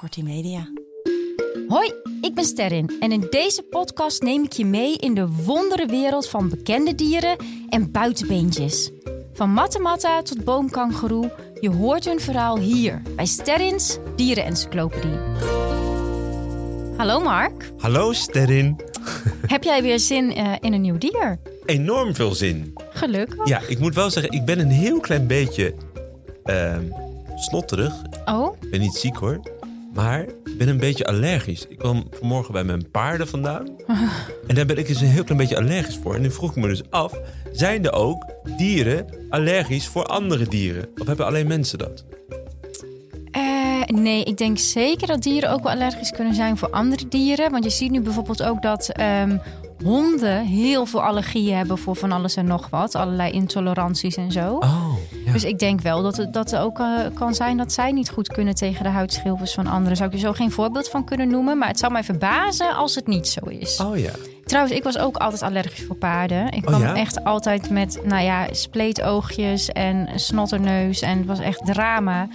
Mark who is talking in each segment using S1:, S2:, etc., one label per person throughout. S1: Multimedia.
S2: Hoi, ik ben Sterrin en in deze podcast neem ik je mee in de wondere wereld van bekende dieren en buitenbeentjes. Van mattematta tot boomkangeroe, je hoort hun verhaal hier bij Sterrins Dierenencyclopedie. Hallo Mark,
S3: Hallo Sterrin.
S2: heb jij weer zin eh, in een nieuw dier?
S3: Enorm veel zin.
S2: Gelukkig.
S3: Ja, ik moet wel zeggen, ik ben een heel klein beetje ehm, snotterig.
S2: Oh,
S3: Ik ben niet ziek hoor. Maar ik ben een beetje allergisch. Ik kwam vanmorgen bij mijn paarden vandaan. En daar ben ik dus een heel klein beetje allergisch voor. En nu vroeg ik me dus af, zijn er ook dieren allergisch voor andere dieren? Of hebben alleen mensen dat?
S2: Eh, nee, ik denk zeker dat dieren ook wel allergisch kunnen zijn voor andere dieren. Want je ziet nu bijvoorbeeld ook dat ehm, honden heel veel allergieën hebben voor van alles en nog wat. Allerlei intoleranties en zo.
S3: Oh, ja.
S2: Dus ik denk wel dat het, dat er ook eh, kan zijn dat zij niet goed kunnen tegen de huidschilfers van anderen. Zou ik er zo geen voorbeeld van kunnen noemen. Maar het zou mij verbazen als het niet zo is.
S3: Oh ja.
S2: Trouwens, ik was ook altijd allergisch voor paarden. Ik kwam
S3: ja?
S2: echt altijd met, nou ja, spleetoogjes en snotterneus. En het was echt drama.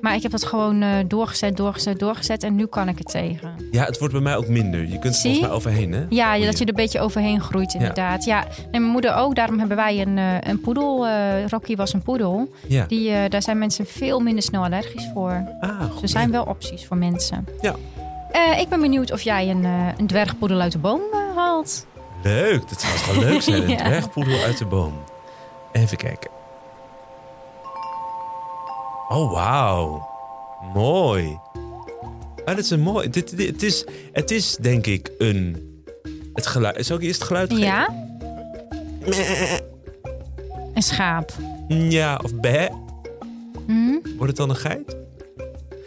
S2: Maar ik heb dat gewoon eh, doorgezet, doorgezet, doorgezet. En nu kan ik het tegen.
S3: Ja, het wordt bij mij ook minder. Je kunt er
S2: Zie?
S3: volgens mij overheen, hè?
S2: Ja,
S3: Goeie.
S2: dat je er een beetje overheen groeit inderdaad. Ja, en mijn moeder ook. Daarom hebben wij een, eh, een poedel. eh, Rocky was een poedel.
S3: Ja.
S2: Die, eh, daar zijn mensen veel minder snel allergisch voor.
S3: Ah, goed.
S2: Dus er zijn wel opties voor mensen.
S3: Ja.
S2: Eh, ik ben benieuwd of jij een, eh, een dwergpoedel uit de boom eh, haalt.
S3: Leuk, dat zou toch wel leuk zijn. Een
S2: Ja.
S3: dwergpoedel uit de boom. Even kijken. Oh, wauw. Mooi. Ah, dat is een mooi... Dit, dit- het, is, het is, denk ik, een... Het geluid... Zal ik eerst het geluid geven?
S2: Ja? Een schaap.
S3: Ja, of bè.
S2: Hm?
S3: Wordt het dan een geit?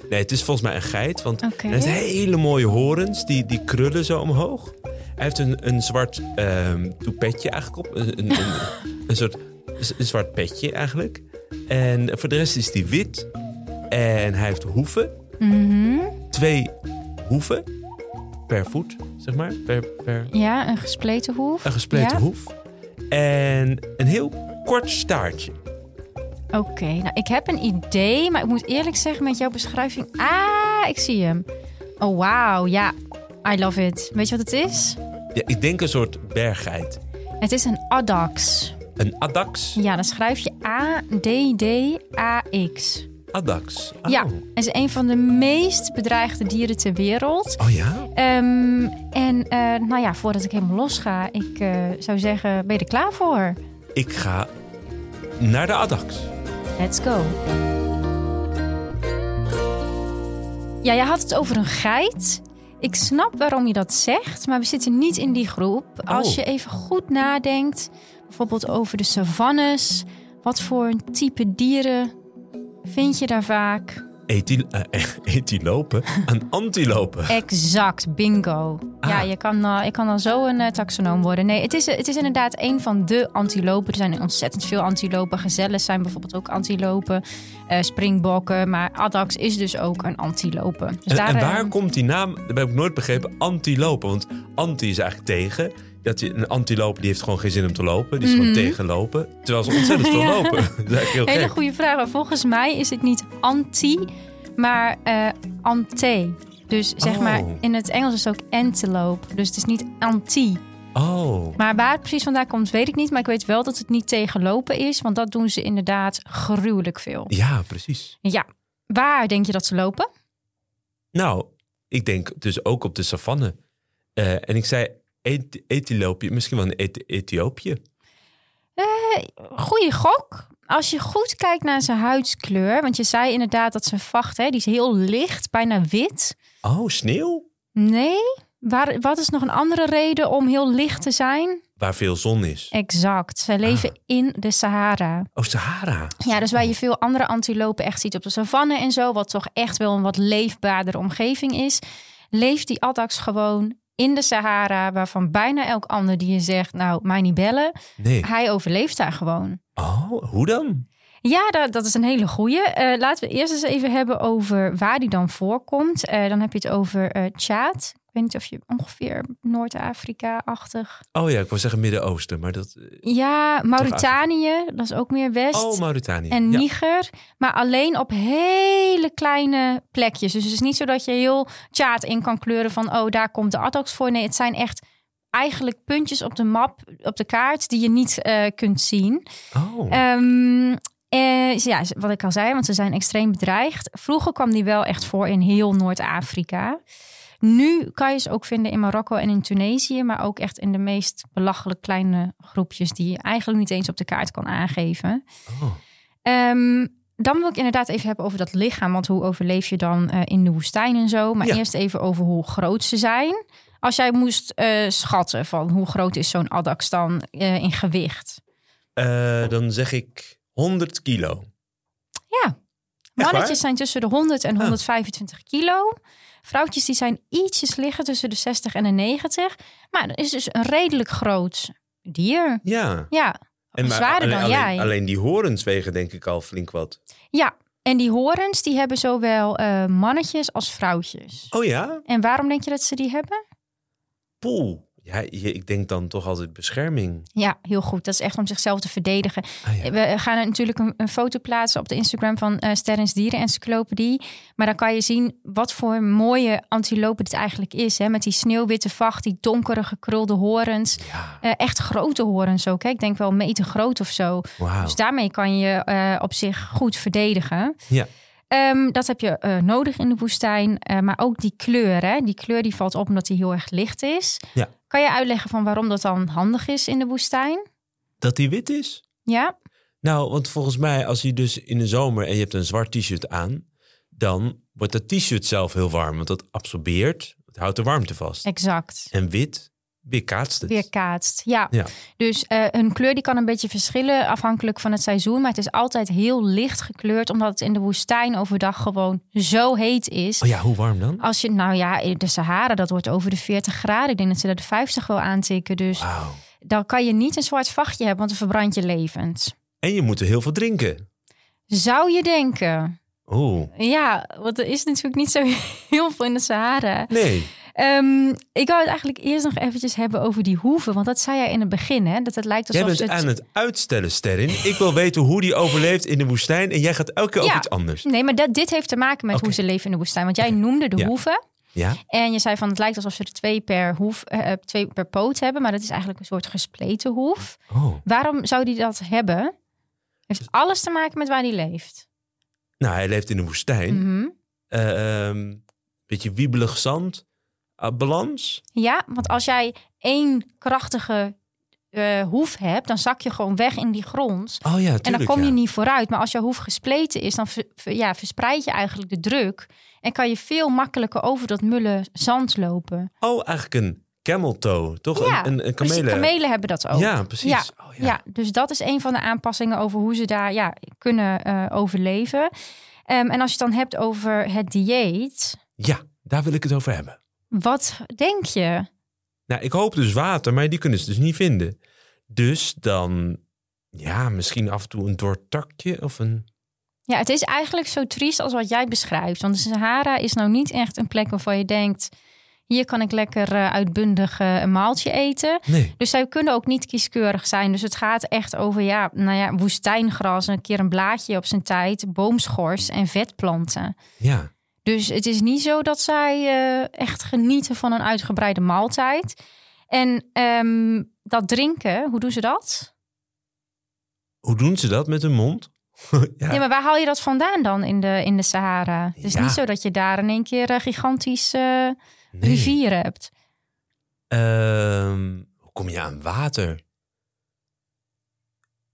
S3: Nee, het is volgens mij een geit, want
S2: Oké.
S3: hij heeft hele mooie horens, die, die krullen zo omhoog. Hij heeft een, een zwart ehm toepetje eigenlijk op, een, een, een, een soort een zwart petje eigenlijk. En voor de rest is hij wit en hij heeft hoeven,
S2: Mhm.
S3: twee hoeven per voet, zeg maar, per, per
S2: Ja, een gespleten hoef.
S3: een gespleten
S2: Ja?
S3: hoef. En een heel kort staartje.
S2: Oké, nou ik heb een idee, maar ik moet eerlijk zeggen met jouw beschrijving... Ah, ik zie hem. Oh, wauw. Ja, I love it. Weet je wat het is?
S3: Ja, ik denk een soort berggeit.
S2: Het is een addax.
S3: Een addax.
S2: Ja, dan schrijf je A-D-D-A-X.
S3: Addax. Oh.
S2: Ja, het is een van de meest bedreigde dieren ter wereld.
S3: Oh ja?
S2: Ehm, en eh, nou ja, voordat ik helemaal los ga, ik eh, zou zeggen, ben je er klaar voor?
S3: Ik ga naar de Addax.
S2: Let's go. Ja, jij had het over een geit. Ik snap waarom je dat zegt, maar we zitten niet in die groep. Als
S3: Oh.
S2: je even goed nadenkt, bijvoorbeeld over de savannes, wat voor type dieren vind je daar vaak?
S3: Etil, eh, etilopen? Een antilopen.
S2: Exact, bingo. Ja,
S3: Ah.
S2: je kan, eh, ik kan dan zo een eh, taxonoom worden. Nee, het is, eh, het is inderdaad een van de antilopen. Er zijn ontzettend veel antilopen. Gezellen zijn bijvoorbeeld ook antilopen. eh, springbokken. Maar Addax is dus ook een antilope. Dus
S3: En, en
S2: eh,
S3: waar komt die naam, dat heb ik nooit begrepen, antilopen? Want anti is eigenlijk tegen. Dat je, een antilopen die heeft gewoon geen zin om te lopen. Die is gewoon tegenlopen. Terwijl ze ontzettend veel
S2: Mhm. Ja.
S3: lopen. Dat is eigenlijk heel
S2: Hele
S3: gek.
S2: goede vraag. Maar Volgens mij is het niet anti, maar eh ante. Dus zeg
S3: Oh.
S2: maar, in het Engels is het ook antelope. Dus het is niet anti.
S3: Oh,
S2: Maar waar het precies vandaan komt, weet ik niet. Maar ik weet wel dat het niet tegenlopen is. Want dat doen ze inderdaad gruwelijk veel.
S3: ja, precies.
S2: Ja. Waar denk je dat ze lopen?
S3: Nou, ik denk dus ook op de savanne. Eh, en ik zei et, etilopië, misschien wel een et, Ethiopië.
S2: Goeie gok. Als je goed kijkt naar zijn huidskleur. Want je zei inderdaad dat zijn vacht, hè, die is heel licht, bijna wit.
S3: Oh, sneeuw?
S2: Nee? Waar, wat is nog een andere reden om heel licht te zijn?
S3: Waar veel zon is.
S2: Exact. Zij leven in de Sahara.
S3: Oh, Sahara.
S2: Ja, dus waar je veel andere antilopen echt ziet op de savanne en zo, wat toch echt wel een wat leefbaardere omgeving is, leeft die addax gewoon in de Sahara, waarvan bijna elk ander die je zegt, nou, mij niet bellen,
S3: Nee.
S2: hij overleeft daar gewoon.
S3: Oh, hoe dan?
S2: Ja, dat, dat is een hele goeie. Eh, laten we het eerst eens even hebben over waar die dan voorkomt. Eh, dan heb je het over eh Tjaad. Ik weet niet of je ongeveer Noord-Afrika-achtig.
S3: Oh ja, ik wou zeggen Midden-Oosten, maar dat... eh,
S2: Ja, Mauritanië, dat is ook meer West.
S3: Oh, Mauritanië.
S2: en
S3: ja.
S2: Niger, maar alleen op hele kleine plekjes. Dus het is niet zo dat je heel Tjaat in kan kleuren van oh, daar komt de Addox voor. Nee, het zijn echt eigenlijk puntjes op de map, op de kaart, die je niet eh, kunt zien.
S3: Oh,
S2: Ehm, eh, ze- ja, ze- wat ik al zei, want ze zijn extreem bedreigd. Vroeger kwam die wel echt voor in heel Noord-Afrika. Nu kan je ze ook vinden in Marokko en in Tunesië, maar ook echt in de meest belachelijk kleine groepjes die je eigenlijk niet eens op de kaart kan aangeven.
S3: oh.
S2: Ehm, dan wil ik inderdaad even hebben over dat lichaam. Want hoe overleef je dan eh, in de woestijn en zo? Maar
S3: Ja.
S2: eerst even over hoe groot ze zijn. Als jij moest eh, schatten van hoe groot is zo'n addax dan eh, in gewicht?
S3: Eh, dan zeg ik 100 kilo. waar?
S2: Mannetjes zijn tussen de 100 en
S3: Ah.
S2: 125 kilo. Vrouwtjes die zijn ietsjes liggen tussen de 60 en de 90. Maar dat is dus een redelijk groot dier.
S3: Ja.
S2: Ja, zwaarder
S3: alleen,
S2: dan
S3: alleen,
S2: jij.
S3: Alleen die horens wegen denk ik al flink wat.
S2: ja. En die horens die hebben zowel eh, mannetjes als vrouwtjes.
S3: Oh ja?
S2: En waarom denk je dat ze die hebben?
S3: Poeh. Ja, je- ik denk dan toch altijd bescherming.
S2: Ja, heel goed. Dat is echt om zichzelf te verdedigen.
S3: Ah, ja.
S2: We gaan er natuurlijk een, een foto plaatsen op de Instagram van eh Sterrens Dieren Encyclopedie. Maar dan kan je zien wat voor mooie antilopen dit eigenlijk is. Hè? Met die sneeuwwitte vacht, die donkere gekrulde horens.
S3: Ja,
S2: Eh, echt grote horens ook. Hè? Ik denk wel een meter groot of zo.
S3: wauw.
S2: Dus daarmee kan je eh, op zich goed verdedigen.
S3: Ja.
S2: Ehm, dat heb je eh, nodig in de woestijn. Eh, maar ook die kleur. Hè? Die kleur die valt op omdat die heel erg licht is.
S3: Ja.
S2: Kan je uitleggen van waarom dat dan handig is in de woestijn?
S3: Dat die wit is?
S2: Ja?
S3: Nou, want volgens mij als je dus in de zomer en je hebt een zwart t-shirt aan, dan wordt dat t-shirt zelf heel warm, want dat absorbeert, het houdt de warmte vast.
S2: Exact.
S3: En wit weerkaatst het.
S2: Weerkaatst, ja.
S3: Ja.
S2: Dus eh, hun kleur die kan een beetje verschillen afhankelijk van het seizoen. Maar het is altijd heel licht gekleurd, omdat het in de woestijn overdag gewoon zo heet is.
S3: Oh ja, hoe warm dan?
S2: Als je, nou ja, de Sahara, dat wordt over de 40 graden. Ik denk dat ze daar de 50 wel aantikken. Dus
S3: Wauw.
S2: dan kan je niet een zwart vachtje hebben, want dan verbrand je levend.
S3: En je moet er heel veel drinken.
S2: Zou je denken?
S3: Oh,
S2: Ja, want er is natuurlijk niet zo heel veel in de Sahara.
S3: nee.
S2: Ehm, ik wou het eigenlijk eerst nog eventjes hebben over die hoeven. Want dat zei jij in het begin, hè? Dat het lijkt alsof
S3: Jij bent
S2: het...
S3: aan het uitstellen, Sterrin. Ik wil weten hoe die overleeft in de woestijn en jij gaat elke keer
S2: Ja.
S3: over iets anders.
S2: Nee, maar dat, dit heeft te maken met
S3: Oké.
S2: hoe ze leven in de woestijn. Want jij noemde de
S3: Ja.
S2: hoeven.
S3: Ja?
S2: En je zei van het lijkt alsof ze er twee per, hoef, eh, eh, twee per poot hebben. Maar dat is eigenlijk een soort gespleten hoef.
S3: Oh.
S2: Waarom zou die dat hebben? Heeft
S3: Dus-
S2: alles te maken met waar die leeft.
S3: Nou, hij leeft in de woestijn.
S2: Mhm.
S3: Eh, ehm, beetje wiebelig zand. Ah, balans.
S2: Ja, want als jij één krachtige eh, hoef hebt, dan zak je gewoon weg in die grond.
S3: Oh ja, tuurlijk.
S2: En dan kom je
S3: ja.
S2: niet vooruit. Maar als jouw hoef gespleten is, dan ver- ver- ja, verspreid je eigenlijk de druk. En kan je veel makkelijker over dat mulle zand lopen.
S3: Oh, eigenlijk een camel toe, toch?
S2: Ja,
S3: een, een, een
S2: Precies,
S3: kamelen.
S2: kamelen hebben dat ook.
S3: Ja, precies.
S2: Ja,
S3: Oh, ja.
S2: Ja, dus dat is een van de aanpassingen over hoe ze daar ja, kunnen eh, overleven. Ehm, en als je het dan hebt over het dieet,
S3: Ja, daar wil ik het over hebben.
S2: wat denk je?
S3: Nou, ik hoop dus water, maar die kunnen ze dus niet vinden. Dus dan, ja, misschien af en toe een doortakje of een...
S2: Ja, het is eigenlijk zo triest als wat jij beschrijft. Want de Sahara is nou niet echt een plek waarvan je denkt... hier kan ik lekker eh, uitbundig eh, een maaltje eten.
S3: Nee.
S2: Dus zij kunnen ook niet kieskeurig zijn. Dus het gaat echt over ja, nou ja, woestijngras... een keer een blaadje op zijn tijd, boomschors en vetplanten.
S3: Ja.
S2: Dus het is niet zo dat zij eh, echt genieten van een uitgebreide maaltijd. En ehm, dat drinken, hoe doen ze dat?
S3: Hoe doen ze dat met hun mond? ja.
S2: Nee, maar waar haal je dat vandaan dan in de, in de Sahara? Het is
S3: Ja.
S2: niet zo dat je daar in één keer eh, gigantische eh,
S3: nee.
S2: rivieren hebt.
S3: Ehm, hoe kom je aan water?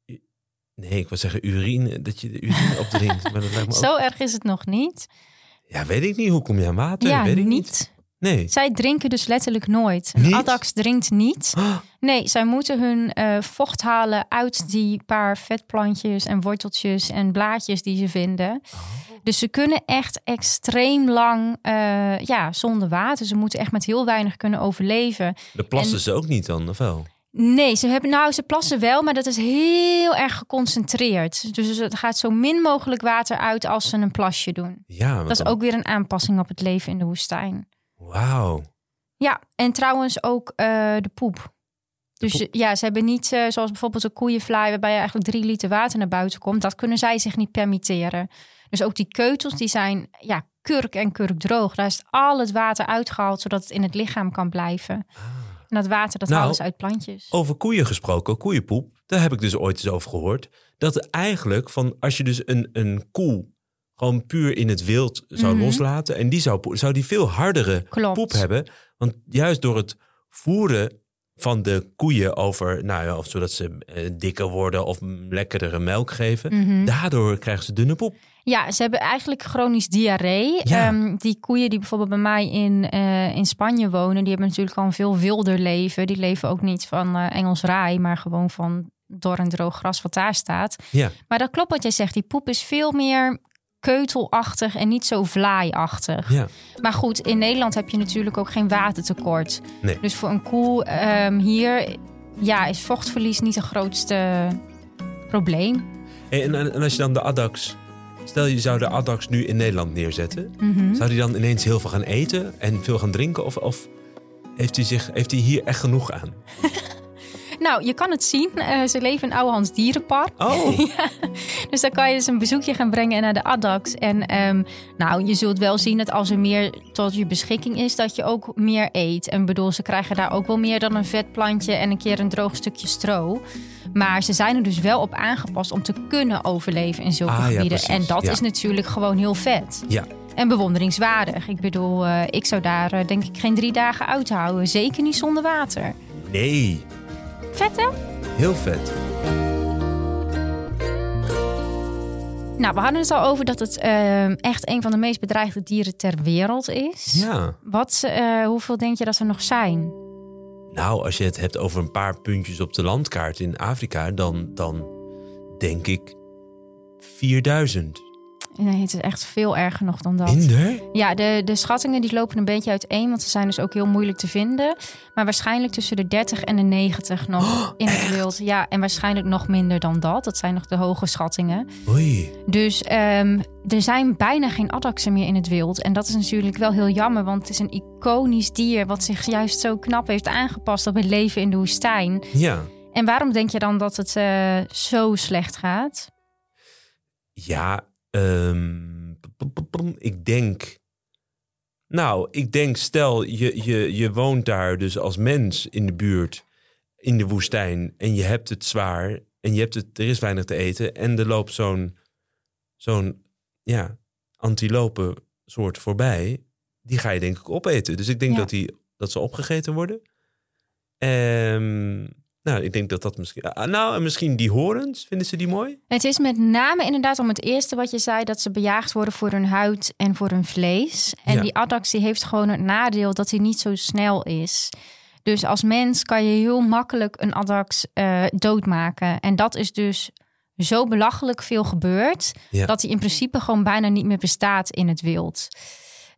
S3: U- Nee, ik wil zeggen urine, dat je de urine opdrinkt. Maar dat lijkt me ook-
S2: Zo erg is het nog niet.
S3: Ja, weet ik niet. Hoe kom je aan water?
S2: ja,
S3: weet ik
S2: niet.
S3: Nee.
S2: Zij drinken dus letterlijk nooit. Een
S3: Niet?
S2: addax drinkt niet.
S3: Ah,
S2: Nee, zij moeten hun eh, vocht halen uit die paar vetplantjes en worteltjes en blaadjes die ze vinden. Dus ze kunnen echt extreem lang eh, ja, zonder water. Ze moeten echt met heel weinig kunnen overleven.
S3: Dan plassen
S2: En-
S3: ze ook niet dan, of wel?
S2: Nee, ze, hebben, nou, ze plassen wel, maar dat is heel erg geconcentreerd. Dus het gaat zo min mogelijk water uit als ze een plasje doen.
S3: Ja, want
S2: Dat is
S3: dan-
S2: ook weer een aanpassing op het leven in de woestijn.
S3: Wauw.
S2: Ja, en trouwens ook eh, de poep. Dus
S3: poep.
S2: ja, ze hebben niet, eh, zoals bijvoorbeeld een koeienvlaai, waarbij je eigenlijk drie liter water naar buiten komt. Dat kunnen zij zich niet permitteren. Dus ook die keutels, die zijn ja, kurk en kurkdroog. Daar is al het water uitgehaald, zodat het in het lichaam kan blijven. En dat water, dat
S3: Ah. Nou,
S2: halen ze uit plantjes.
S3: Over koeien gesproken, koeienpoep, daar heb ik dus ooit eens over gehoord. Dat er eigenlijk van als je dus een, een koe gewoon puur in het wild zou
S2: Mhm.
S3: loslaten en die zou, poe- zou die veel hardere
S2: Klopt.
S3: poep hebben. Want juist door het voeren van de koeien over, nou ja, of zodat ze eh, dikker worden of lekkerdere melk geven,
S2: Mhm.
S3: daardoor krijgen ze dunne poep.
S2: Ja, ze hebben eigenlijk chronisch diarree.
S3: Ja.
S2: Ehm, die koeien die bijvoorbeeld bij mij in, eh, in Spanje wonen, die hebben natuurlijk al een veel wilder leven. Die leven ook niet van eh, Engels raai, maar gewoon van dor en droog gras wat daar staat.
S3: Ja.
S2: Maar dat klopt wat jij zegt. Die poep is veel meer keutelachtig en niet zo vlaaiachtig.
S3: Ja.
S2: Maar goed, in Nederland heb je natuurlijk ook geen watertekort.
S3: Nee.
S2: Dus voor een koe ehm, hier ja, is vochtverlies niet het grootste probleem.
S3: En, en, en als je dan de addax, stel je zou de addax nu in Nederland neerzetten,
S2: Mhm.
S3: Zou hij dan ineens heel veel gaan eten en veel gaan drinken? Of, of heeft, hij zich, heeft hij hier echt genoeg aan?
S2: Nou, je kan het zien. Eh, ze leven in Ouwehands Dierenpark.
S3: Oh,
S2: Dus daar kan je dus een bezoekje gaan brengen naar de ADAX. En ehm, nou, je zult wel zien dat als er meer tot je beschikking is, dat je ook meer eet. En bedoel, ze krijgen daar ook wel meer dan een vetplantje en een keer een droog stukje stro. Maar ze zijn er dus wel op aangepast om te kunnen overleven in zulke
S3: Ah, ja,
S2: gebieden.
S3: precies,
S2: en dat
S3: ja.
S2: is natuurlijk gewoon heel vet.
S3: Ja.
S2: En bewonderingswaardig. Ik bedoel, eh, ik zou daar eh, denk ik geen drie dagen uithouden. Zeker niet zonder water.
S3: nee.
S2: Vet hè?
S3: Heel vet.
S2: Nou, we hadden het al over dat het ehm, echt een van de meest bedreigde dieren ter wereld is.
S3: Ja.
S2: Wat, eh, hoeveel denk je dat er nog zijn?
S3: Nou, als je het hebt over een paar puntjes op de landkaart in Afrika, dan, dan denk ik 4000.
S2: Nee, het is echt veel erger nog dan dat.
S3: Minder?
S2: Ja, de, de schattingen die lopen een beetje uiteen, want ze zijn dus ook heel moeilijk te vinden. Maar waarschijnlijk tussen de 30 en de 90 nog
S3: Oh,
S2: in het wild. Ja, en waarschijnlijk nog minder dan dat. Dat zijn nog de hoge schattingen.
S3: Oei.
S2: Dus ehm, er zijn bijna geen addaxen meer in het wild. En dat is natuurlijk wel heel jammer, want het is een iconisch dier... wat zich juist zo knap heeft aangepast op het leven in de woestijn.
S3: Ja.
S2: En waarom denk je dan dat het eh, zo slecht gaat?
S3: Ja, ehm, p- p- p- p- ik denk. Nou, ik denk, stel je, je, je woont daar dus als mens in de buurt, in de woestijn, en je hebt het zwaar, en je hebt het, er is weinig te eten, en er loopt zo'n, zo'n ja, antilopen soort voorbij, die ga je denk ik opeten. Dus ik denk
S2: Ja.
S3: dat, die, dat ze opgegeten worden. Ehm, nou, ik denk dat dat misschien. ah, Nou, en misschien die horens, vinden ze die mooi?
S2: Het is met name inderdaad om het eerste wat je zei... dat ze bejaagd worden voor hun huid en voor hun vlees. En
S3: Ja.
S2: die addax die heeft gewoon het nadeel dat hij niet zo snel is. Dus als mens kan je heel makkelijk een addax eh, doodmaken. En dat is dus zo belachelijk veel gebeurd...
S3: Ja.
S2: dat hij in principe gewoon bijna niet meer bestaat in het wild.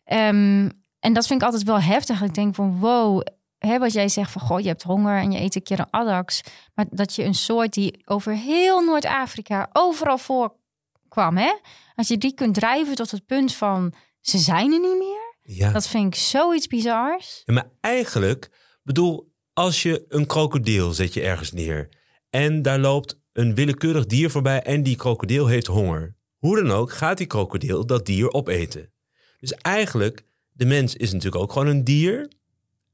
S2: Ehm, en dat vind ik altijd wel heftig. Ik denk van wow, hè, wat jij zegt van goh, je hebt honger en je eet een keer een addax. Maar dat je een soort die over heel Noord-Afrika overal voorkwam, hè? Als je die kunt drijven tot het punt van ze zijn er niet meer.
S3: Ja.
S2: Dat vind ik zoiets bizars.
S3: Ja, maar eigenlijk, bedoel, als je een krokodil zet je ergens neer en daar loopt een willekeurig dier voorbij en die krokodil heeft honger. Hoe dan ook gaat die krokodil dat dier opeten. Dus eigenlijk, de mens is natuurlijk ook gewoon een dier.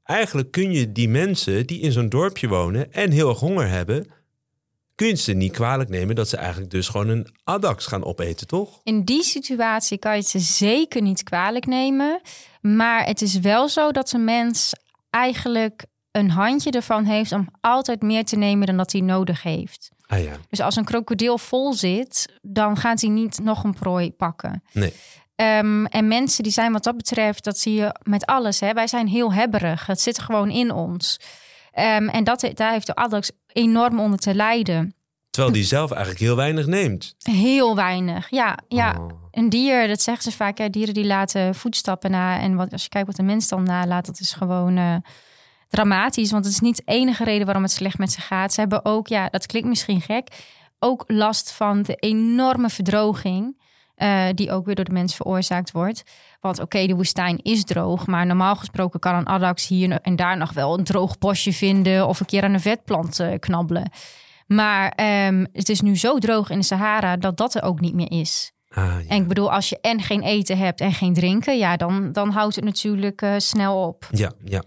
S3: Eigenlijk kun je die mensen die in zo'n dorpje wonen en heel erg honger hebben, kun je ze niet kwalijk nemen dat ze eigenlijk dus gewoon een addax gaan opeten, toch?
S2: In die situatie kan je het ze zeker niet kwalijk nemen. Maar het is wel zo dat een mens eigenlijk een handje ervan heeft om altijd meer te nemen dan dat hij nodig heeft.
S3: Ah ja,
S2: Dus als een krokodil vol zit, dan gaat hij niet nog een prooi pakken.
S3: nee.
S2: Ehm, en mensen die zijn wat dat betreft, dat zie je met alles. Hè? Wij zijn heel hebberig. Het zit gewoon in ons. Ehm, en dat, daar heeft de addax enorm onder te lijden.
S3: Terwijl die zelf eigenlijk heel weinig neemt.
S2: Heel weinig. Ja, ja.
S3: Oh.
S2: Een dier, dat zeggen ze vaak, hè, dieren die laten voetstappen na. En wat, als je kijkt wat de mens dan nalaat, dat is gewoon eh, dramatisch. Want het is niet de enige reden waarom het slecht met ze gaat. Ze hebben ook, ja, dat klinkt misschien gek, ook last van de enorme verdroging. eh, die ook weer door de mens veroorzaakt wordt. Want oké, de woestijn is droog, maar normaal gesproken kan een addax hier en daar nog wel een droog bosje vinden of een keer aan een vetplant eh, knabbelen. Maar ehm, het is nu zo droog in de Sahara dat dat er ook niet meer is.
S3: Ah, ja.
S2: En ik bedoel, als je en geen eten hebt en geen drinken, ja, dan, dan houdt het natuurlijk eh, snel op.
S3: ja, ja.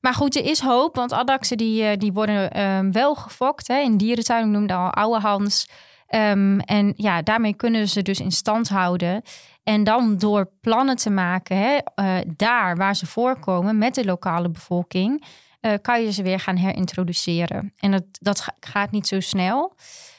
S2: Maar goed, er is hoop, want addaxen die, eh, die worden ehm, wel gefokt. Hè. In dierentuin noemde al oude Hans. Ehm, en ja, daarmee kunnen ze dus in stand houden. En dan door plannen te maken, hè, eh, daar waar ze voorkomen met de lokale bevolking, eh, kan je ze weer gaan herintroduceren. En dat, dat ga- gaat niet zo snel.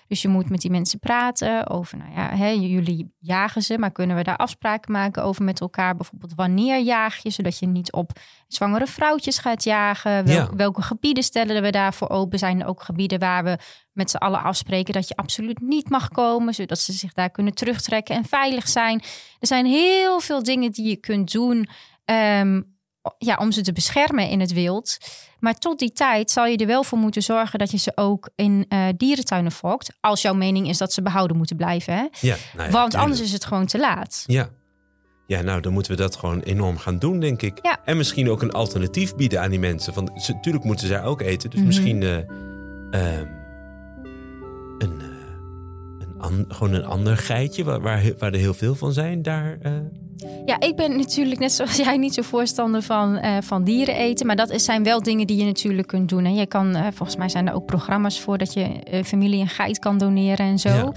S2: Dus je moet met die mensen praten over, nou ja, hè, jullie jagen ze, maar kunnen we daar afspraken maken over met elkaar? Bijvoorbeeld wanneer jaag je, zodat je niet op zwangere vrouwtjes gaat jagen? Wel-
S3: Ja.
S2: Welke gebieden stellen we daarvoor open? Zijn er ook gebieden waar we met z'n allen afspreken dat je absoluut niet mag komen, zodat ze zich daar kunnen terugtrekken en veilig zijn? Er zijn heel veel dingen die je kunt doen ehm, ja, om ze te beschermen in het wild. Maar tot die tijd zal je er wel voor moeten zorgen dat je ze ook in eh, dierentuinen fokt. Als jouw mening is dat ze behouden moeten blijven. Hè?
S3: ja nou ja,
S2: Want
S3: tuurlijk.
S2: anders is het gewoon te laat.
S3: Ja. Ja, nou, dan moeten we dat gewoon enorm gaan doen, denk ik.
S2: Ja.
S3: En misschien ook een alternatief bieden aan die mensen. Want natuurlijk moeten zij ook eten. Dus
S2: Mhm.
S3: misschien eh, ehm, een, eh, een an- gewoon een ander geitje, waar, waar, he- waar er heel veel van zijn, daar... eh,
S2: Ja, ik ben natuurlijk net zoals jij niet zo voorstander van, eh, van dieren eten. Maar dat is- zijn wel dingen die je natuurlijk kunt doen. En je kan, eh, volgens mij zijn er ook programma's voor dat je eh, familie een geit kan doneren en zo.
S3: Ja.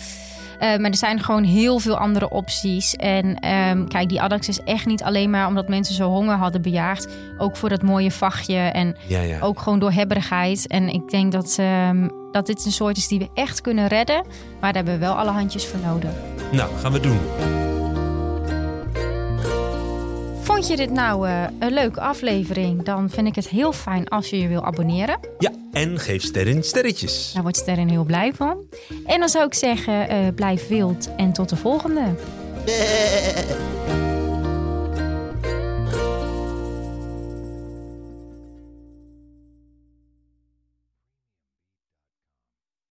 S2: Eh, maar er zijn gewoon heel veel andere opties. En ehm, kijk, die addax is echt niet alleen maar omdat mensen zo honger hadden bejaagd. Ook voor dat mooie vachtje en
S3: ja, ja.
S2: ook gewoon door hebberigheid. En ik denk dat, ehm, dat dit een soort is die we echt kunnen redden. Maar daar hebben we wel alle handjes voor nodig.
S3: Nou, gaan we doen.
S2: Vond je dit nou eh, een leuke aflevering? Dan vind ik het heel fijn als je je wil abonneren.
S3: Ja, en geef sterren sterretjes.
S2: Daar wordt Sterren heel blij van. En dan zou ik zeggen, eh, blijf wild en tot de volgende.